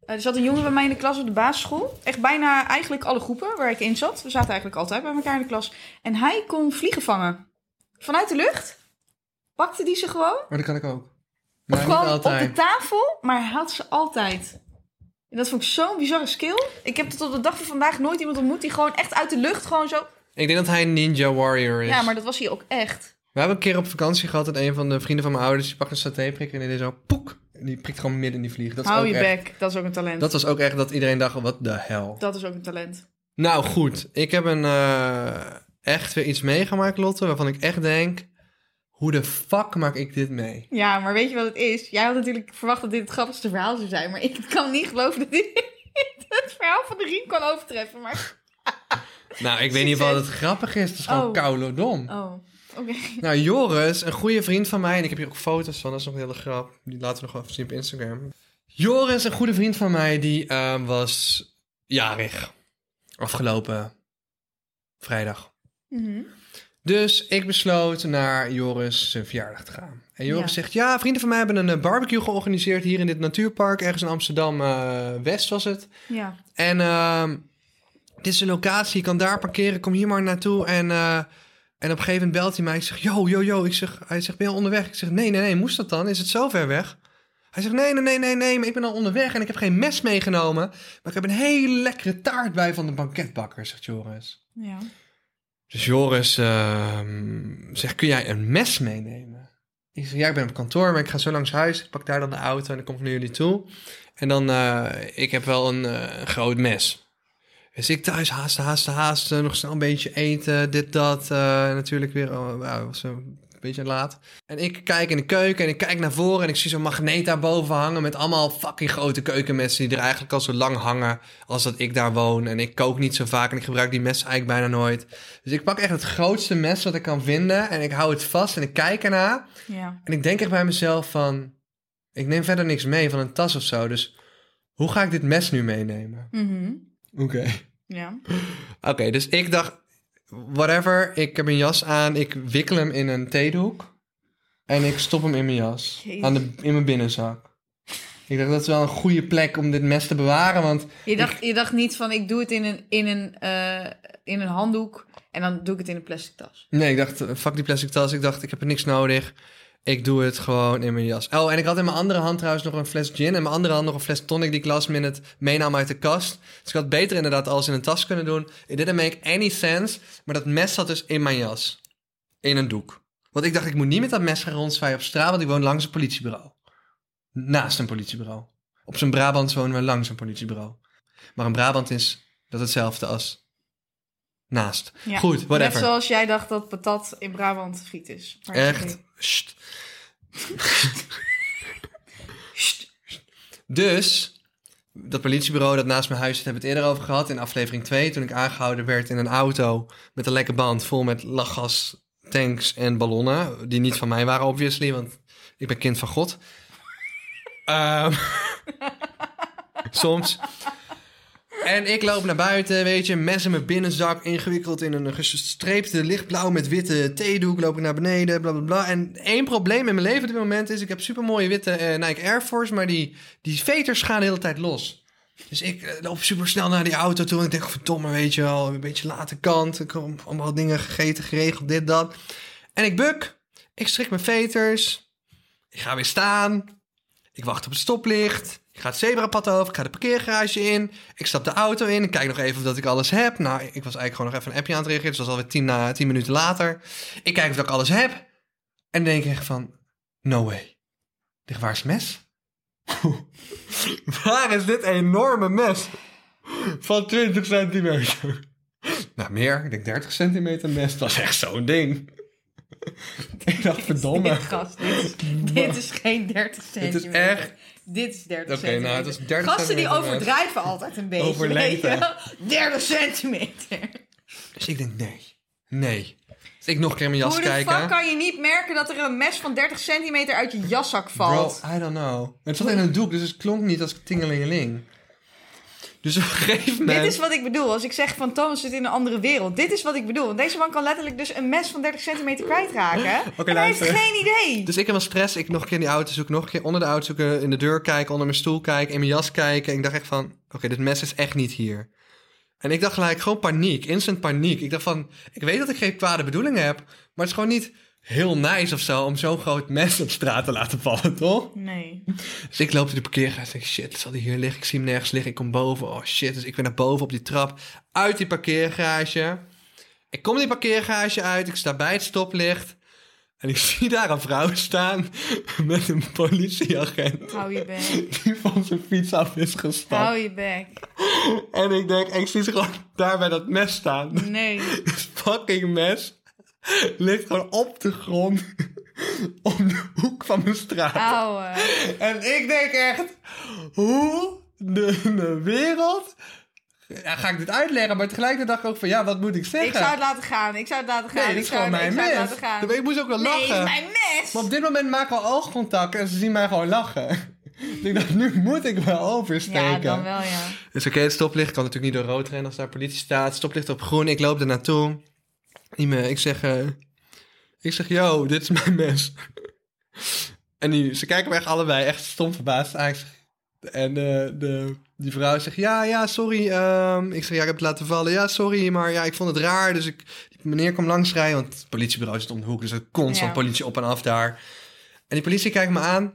Eh, er zat een jongen bij mij in de klas op de basisschool. Echt bijna eigenlijk alle groepen waar ik in zat. We zaten eigenlijk altijd bij elkaar in de klas. En hij kon vliegen vangen. Vanuit de lucht pakte die ze gewoon.
Maar dat kan ik ook.
Of
Maar niet
gewoon op de
altijd.
tafel, maar hij had ze altijd. En dat vond ik zo'n bizarre skill. Ik heb tot op de dag van vandaag nooit iemand ontmoet die gewoon echt uit de lucht gewoon zo...
Ik denk dat hij een ninja warrior is.
Ja, maar dat was hij ook echt.
We hebben een keer op vakantie gehad en een van de vrienden van mijn ouders die pakte een satéprikker en die deed zo poek. En die prikt gewoon midden in die vlieg. Dat is
Hou
ook
je
echt-
bek, dat is ook een talent.
Dat was ook echt dat iedereen dacht, wat de hel.
dat is ook een talent.
Nou goed, ik heb een, eh, echt weer iets meegemaakt, Lotte, waarvan ik echt denk, hoe de fuck maak ik dit mee?
Ja, maar weet je wat het is? Jij had natuurlijk verwacht dat dit het grappigste verhaal zou zijn. Maar ik kan niet geloven dat dit het verhaal van de riem kan overtreffen. Maar...
Nou, ik weet niet of
Succes.
het grappig is, het is gewoon
Oh.
koulodom.
Oh, oké.
Nou, Joris, een goede vriend van mij, en ik heb hier ook foto's van, dat is nog een hele grap. Die laten we nog wel even zien op Instagram. Joris, een goede vriend van mij, die eh, was jarig. Afgelopen vrijdag.
Mhm.
Dus ik besloot naar Joris zijn verjaardag te gaan. En Joris
Ja.
zegt, ja, vrienden van mij hebben een eh, barbecue georganiseerd hier in dit natuurpark. Ergens in Amsterdam-West was het.
Ja.
En ehm, dit is een locatie, je kan daar parkeren, kom hier maar naartoe. En, eh, en op een gegeven moment belt hij mij. Ik zeg, yo, yo, yo. Ik zeg, hij zegt, ben je al onderweg? Ik zeg, nee, nee, nee, moest dat dan? Is het zo ver weg? Hij zegt, nee, nee, nee, nee, nee, maar ik ben al onderweg en ik heb geen mes meegenomen. Maar ik heb een hele lekkere taart bij van de banketbakker, zegt Joris.
Ja.
Dus Joris ehm, zegt, kun jij een mes meenemen? Ik zeg, ja, ik ben op kantoor, maar ik ga zo langs huis. Ik pak daar dan de auto en dan kom ik naar jullie toe. En dan, eh, ik heb wel een eh, een groot mes. Dus ik thuis haasten, haasten, haasten. Nog snel een beetje eten, dit, dat. eh, natuurlijk weer, oh, wauw, was een beetje laat. En ik kijk in de keuken en ik kijk naar voren... en ik zie zo'n magneet daarboven hangen... met allemaal fucking grote keukenmessen... die er eigenlijk al zo lang hangen als dat ik daar woon. En ik kook niet zo vaak en ik gebruik die messen eigenlijk bijna nooit. Dus ik pak echt het grootste mes wat ik kan vinden en ik hou het vast en ik kijk ernaar.
Ja.
En ik denk echt bij mezelf van, ik neem verder niks mee van een tas of zo. Dus hoe ga ik dit mes nu meenemen?
Mhm.
Oké.
Ja.
Oké, dus ik dacht, whatever, ik heb een jas aan, ik wikkel hem in een theedoek. En ik stop hem in mijn jas,
Jezus.
aan de, in mijn binnenzak. Ik dacht, dat is wel een goede plek om dit mes te bewaren, want
Je, dacht, je dacht niet van ik doe het in een, in, een, eh, in een handdoek en dan doe ik het in een plastic tas.
Nee, ik dacht, eh, fuck die plastic tas. Ik dacht, ik heb er niks nodig. Ik doe het gewoon in mijn jas. Oh, en ik had in mijn andere hand trouwens nog een fles gin. En mijn andere hand nog een fles tonic die ik last minute meenam uit de kast. Dus ik had beter inderdaad alles in een tas kunnen doen. It didn't make any sense. Maar dat mes zat dus in mijn jas. In een doek. Want ik dacht, ik moet niet met dat mes gaan rondzwaaien op straat. Want ik woon langs een politiebureau. Naast een politiebureau. Op zijn Brabant wonen we langs een politiebureau. Maar een Brabant is dat hetzelfde als naast.
Ja.
Goed, whatever.
Net zoals jij dacht dat patat in Brabant friet is. Maar
Echt.
oké.
Sst.
Sst.
Dus, dat politiebureau dat naast mijn huis zit, hebben we het eerder over gehad in aflevering 2. Toen ik aangehouden werd in een auto met een lekke band vol met lachgas, tanks en ballonnen. Die niet van mij waren, obviously, want ik ben kind van God. Ehm, soms. En ik loop naar buiten, weet je, mes in mijn binnenzak, ingewikkeld in een gestreepte lichtblauw met witte theedoek, loop ik naar beneden, bla bla bla. En één probleem in mijn leven op dit moment is, ik heb supermooie witte eh, Nike Air Force, maar die, die veters gaan de hele tijd los. Dus ik eh, loop super snel naar die auto toe en ik denk, verdomme, weet je wel, een beetje late kant, ik heb allemaal dingen gegeten, geregeld, dit, dat. En ik buk, ik strik mijn veters, ik ga weer staan, ik wacht op het stoplicht. Ik ga het zebrapad over. Ik ga de parkeergarage in. Ik stap de auto in. Ik kijk nog even of dat ik alles heb. Nou, ik was eigenlijk gewoon nog even een appje aan het reageren. Dus dat was alweer tien, na, tien minuten later. Ik kijk of dat ik alles heb. En dan denk ik echt van... No way. Ligt waar is het mes? waar is dit enorme mes? Van 20 centimeter. nou, meer. Ik denk 30 centimeter mes. Dat was echt zo'n ding. ik dacht, verdomme.
Dit, gast, dit, is, dit is geen 30
Het
centimeter.
is echt...
Dit is 30
Oké,
centimeter.
nou, het is 30
Gasten die
centimeter, maar-
overdrijven altijd een beetje.
Over
weet je
lengte.
wel? 30 centimeter.
Dus ik denk, nee. Nee. Dus ik nog een keer in mijn jas
Hoe de
kijken.
fuck kan je niet merken dat er een mes van 30 centimeter uit je jaszak valt?
Bro, I don't know. Het zat in een doek, dus het klonk niet als tingelingeling. Dus op een gegeven moment...
Dit is wat ik bedoel. Als ik zeg van Thomas zit in een andere wereld. Dit is wat ik bedoel. Want deze man kan letterlijk dus een mes van 30 centimeter kwijtraken.
Oké,
en hij heeft
luister.
geen idee.
Dus ik heb wel stress. Ik nog een keer in die auto zoeken, nog een keer onder de auto zoeken, in de deur kijken, onder mijn stoel kijken, in mijn jas kijken. En ik dacht echt van, oké, dit mes is echt niet hier. En ik dacht gelijk gewoon paniek, instant paniek. Ik dacht van, ik weet dat ik geen kwade bedoelingen heb, maar het is gewoon niet heel nice of zo om zo'n groot mes op straat te laten vallen, toch?
Nee.
Dus ik loop door de parkeergarage en denk, shit, zal die hier liggen? Ik zie hem nergens liggen. Ik kom boven. Oh shit, dus ik ben naar boven op die trap. Uit die parkeergarage. Ik kom die parkeergarage uit. Ik sta bij het stoplicht. En ik zie daar een vrouw staan met een politieagent
Hou je bek.
die van zijn fiets af is gestapt.
Hou je bek.
En ik denk, ik zie ze gewoon daar bij dat mes staan.
Nee.
Het fucking mes ligt gewoon op de grond om de hoek van mijn straat.
Auwe.
En ik denk echt, hoe de, de wereld... Ja, ga ik dit uitleggen, maar tegelijkertijd dacht ik ook van, ja, wat moet ik zeggen?
Ik zou het laten gaan. Ik zou het laten gaan.
nee, dit
ik
is
zou,
gewoon
het-
mijn
ik zou het laten
mes.
gaan.
Maar Ik moest ook wel
Nee,
lachen.
is mijn mes.
Maar op dit moment maken we al oogcontact en ze zien mij gewoon lachen. Dus ik dacht, nu moet ik wel oversteken.
Ja, dan wel ja.
Dus oké, het stoplicht kan natuurlijk niet door rood rennen als daar politie staat. Het Stoplicht op groen, ik loop er naartoe. Die me- Ik zeg, eh, ik zeg, yo, dit is mijn mes. en die, ze kijken me echt allebei echt stom verbaasd aan. Ik zeg- En eh, de, die vrouw zegt, ja, ja, sorry. ehm. ik zeg, ja, ik heb het laten vallen. Ja, sorry, maar ja, ik vond het raar. Dus ik, die meneer kwam langs rijden, want het politiebureau zit om de hoek. Dus er constant
Ja.
politie op en af daar. En die politie kijkt me aan.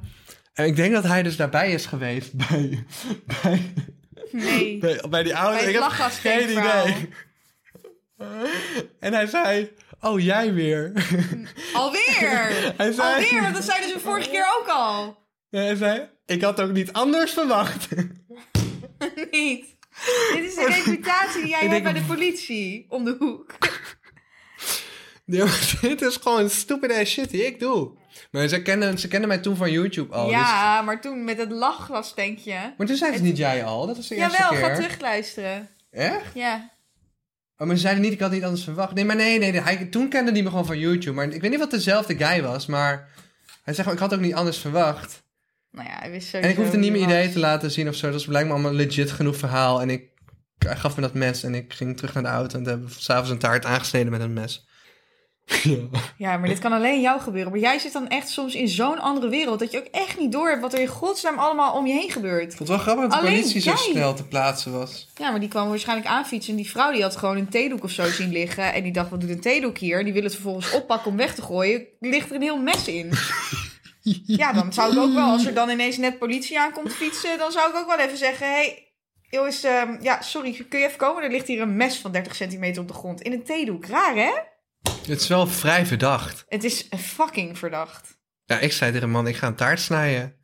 En ik denk dat hij dus daarbij is geweest bij, bij,
Nee.
bij, bij die
Bij
oude.
het
Ik heb
lachgastank
geen
verhaal.
idee. En hij zei: Oh, jij weer.
Alweer.
Hij zei-
Alweer. Want dat zei dus de vorige keer ook al.
En hij zei: Ik had ook niet anders verwacht.
Niet. Dit is de reputatie die jij
Ik
hebt
denk-
bij de politie. Om de hoek.
Nee, maar dit is gewoon stupid ass shit die ik doe. Maar ze kennen, ze kennen mij toen van YouTube al. dus-
ja, maar toen met het lachgastankje.
maar toen zei ze niet jij al. Dat was de eerste
Jawel,
keer.
ga terugluisteren.
Echt?
Ja.
Oh, maar ze zeiden niet, ik had niet anders verwacht. Nee, maar nee, nee. nee, hij, toen kende hij me gewoon van YouTube. Maar ik weet niet wat dezelfde guy was, maar... Hij zei gewoon, ik had ook niet anders verwacht.
Nou ja, hij wist
En
sowieso
ik hoefde niet
wie
mijn
het
ideeën te laten zien of zo. Dat was blijkbaar allemaal een legit genoeg verhaal. En ik hij gaf me dat mes en ik ging terug naar de auto. En toen hebben we s'avonds een taart aangesneden met een mes. Ja.
was. Ja, maar dit kan alleen jou gebeuren. Maar jij zit dan echt soms in zo'n andere wereld... dat je ook echt niet doorhebt wat er in godsnaam allemaal om je heen gebeurt.
Ik vond het wel grappig dat de
Alleen
politie
jij.
zo snel te plaatsen was.
Ja, maar die kwam waarschijnlijk aanfietsen. En die vrouw die had gewoon een theedoek of zo zien liggen. En die dacht, wat doet een theedoek hier? En die wil het vervolgens oppakken om weg te gooien. Ligt er een heel mes in. ja, dan zou ik ook wel, als er dan ineens net politie aankomt fietsen... dan zou ik ook wel even zeggen, hé, hey, jongens, ehm, ja, sorry, kun je even komen? Er ligt hier een mes van 30 centimeter op de grond. In een theedoek. Raar, hè?
Het is wel vrij verdacht.
Het is fucking verdacht.
Ja, ik zei tegen een man, ik ga een taart snijden.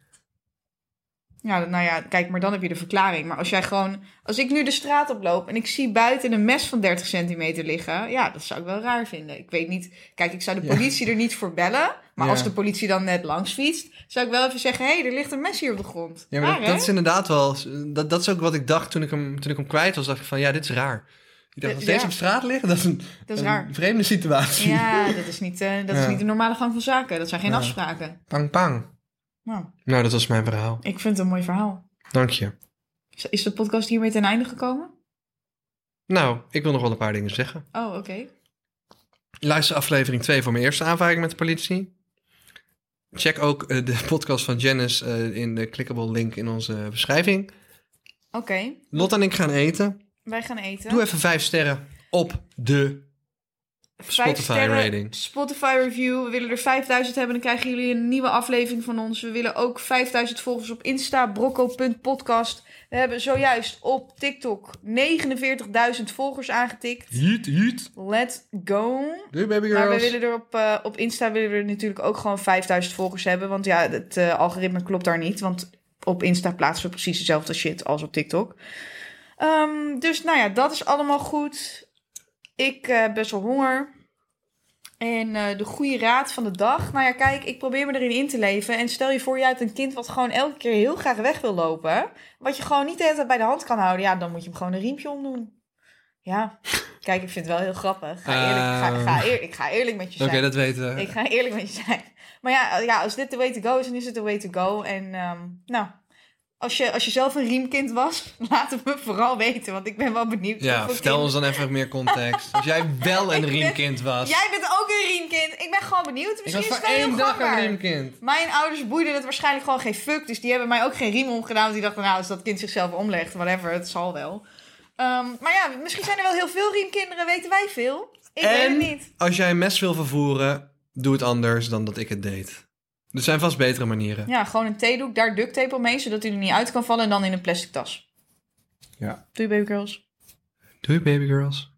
Ja, dat- nou ja, kijk, maar dan heb je de verklaring. Maar als jij gewoon... Als ik nu de straat oploop en ik zie buiten een mes van 30 centimeter liggen... Ja, dat zou ik wel raar vinden. Ik weet niet... Kijk, ik zou de
Ja.
politie er niet voor bellen. Maar
Ja.
als de politie dan net langs fietst... zou ik wel even zeggen... Hé, hey, er ligt een mes hier op de grond.
Ja, maar
Raar,
dat,
hè?
dat is inderdaad wel... Dat, dat is ook wat ik dacht toen ik, hem, toen ik hem kwijt was. dacht ik van, ja, dit is raar. Ik dacht,
Eh,
als deze
ja.
op straat liggen, dat is een,
Dat is
een
raar.
vreemde situatie.
Ja, dat is niet, eh, dat
eh, Ja.
is niet de normale gang van zaken. Dat zijn geen
Ja.
afspraken.
Pang, pang.
Nou,
Nou, dat was mijn verhaal.
ik vind het een mooi verhaal.
Dank je.
Is- Is de podcast hiermee ten einde gekomen?
Nou, ik wil nog wel een paar dingen zeggen.
Oh, oké.
Luister aflevering 2 voor mijn eerste aanvaring met de politie. Check ook eh, de podcast van Janice eh, in de clickable link in onze beschrijving.
Oké,
Lot en ik gaan eten.
wij gaan eten.
Doe even 5 sterren op de... Spotify rating.
Spotify review. We willen er 5000 hebben. Dan krijgen jullie een nieuwe aflevering van ons. We willen ook 5000 volgers op Insta. Brocco.podcast. We hebben zojuist op TikTok 49.000 volgers aangetikt.
Heat, heat.
Let's go.
Doei baby
Maar we
girls.
willen er op, eh, op Insta willen we er natuurlijk ook gewoon 5000 volgers hebben. Want ja, het eh, algoritme klopt daar niet. Want op Insta plaatsen we precies dezelfde shit als op TikTok. Ehm, dus nou ja, dat is allemaal goed. Ik eh, heb best wel honger. En eh, de goede raad van de dag. Nou ja, kijk, ik probeer me erin in te leven. En stel je voor, jij hebt een kind wat gewoon elke keer heel graag weg wil lopen. Wat je gewoon niet de hele tijd bij de hand kan houden. Ja, dan moet je hem gewoon een riempje omdoen. Ja, kijk, ik vind het wel heel grappig. Ga eerlijk, ga, ga eer- ik ga eerlijk met je
Oké,
zijn.
dat weten we.
Ik ga eerlijk met je zijn. Maar ja, eh, ja, als dit de way to go is, dan is het de way to go. En ehm, nou, als je, als je zelf een riemkind was, laat het me vooral weten. Want ik ben wel benieuwd.
Ja,
hoeveel
vertel
kind-
ons dan even meer context. Als jij wel een
ben-
riemkind was.
Jij bent ook een riemkind. Ik ben gewoon benieuwd.
ik was
Misschien
voor
is het wel heel
één dag een
gangbaar.
riemkind.
Mijn ouders boeiden het waarschijnlijk gewoon geen fuck. Dus die hebben mij ook geen riem omgedaan. Want die dachten, nou, als dat kind zichzelf omlegt, whatever, het zal wel. Ehm, maar ja, misschien zijn er wel heel veel riemkinderen. Weten wij veel? Ik weet
En-
het niet.
Als jij een mes wil vervoeren, doe het anders dan dat ik het deed. Er zijn vast betere manieren.
Ja, gewoon een theedoek, daar duct tape omheen, zodat hij er niet uit kan vallen. En dan in een plastic tas.
Ja.
Doei, baby girls.
Doei baby girls.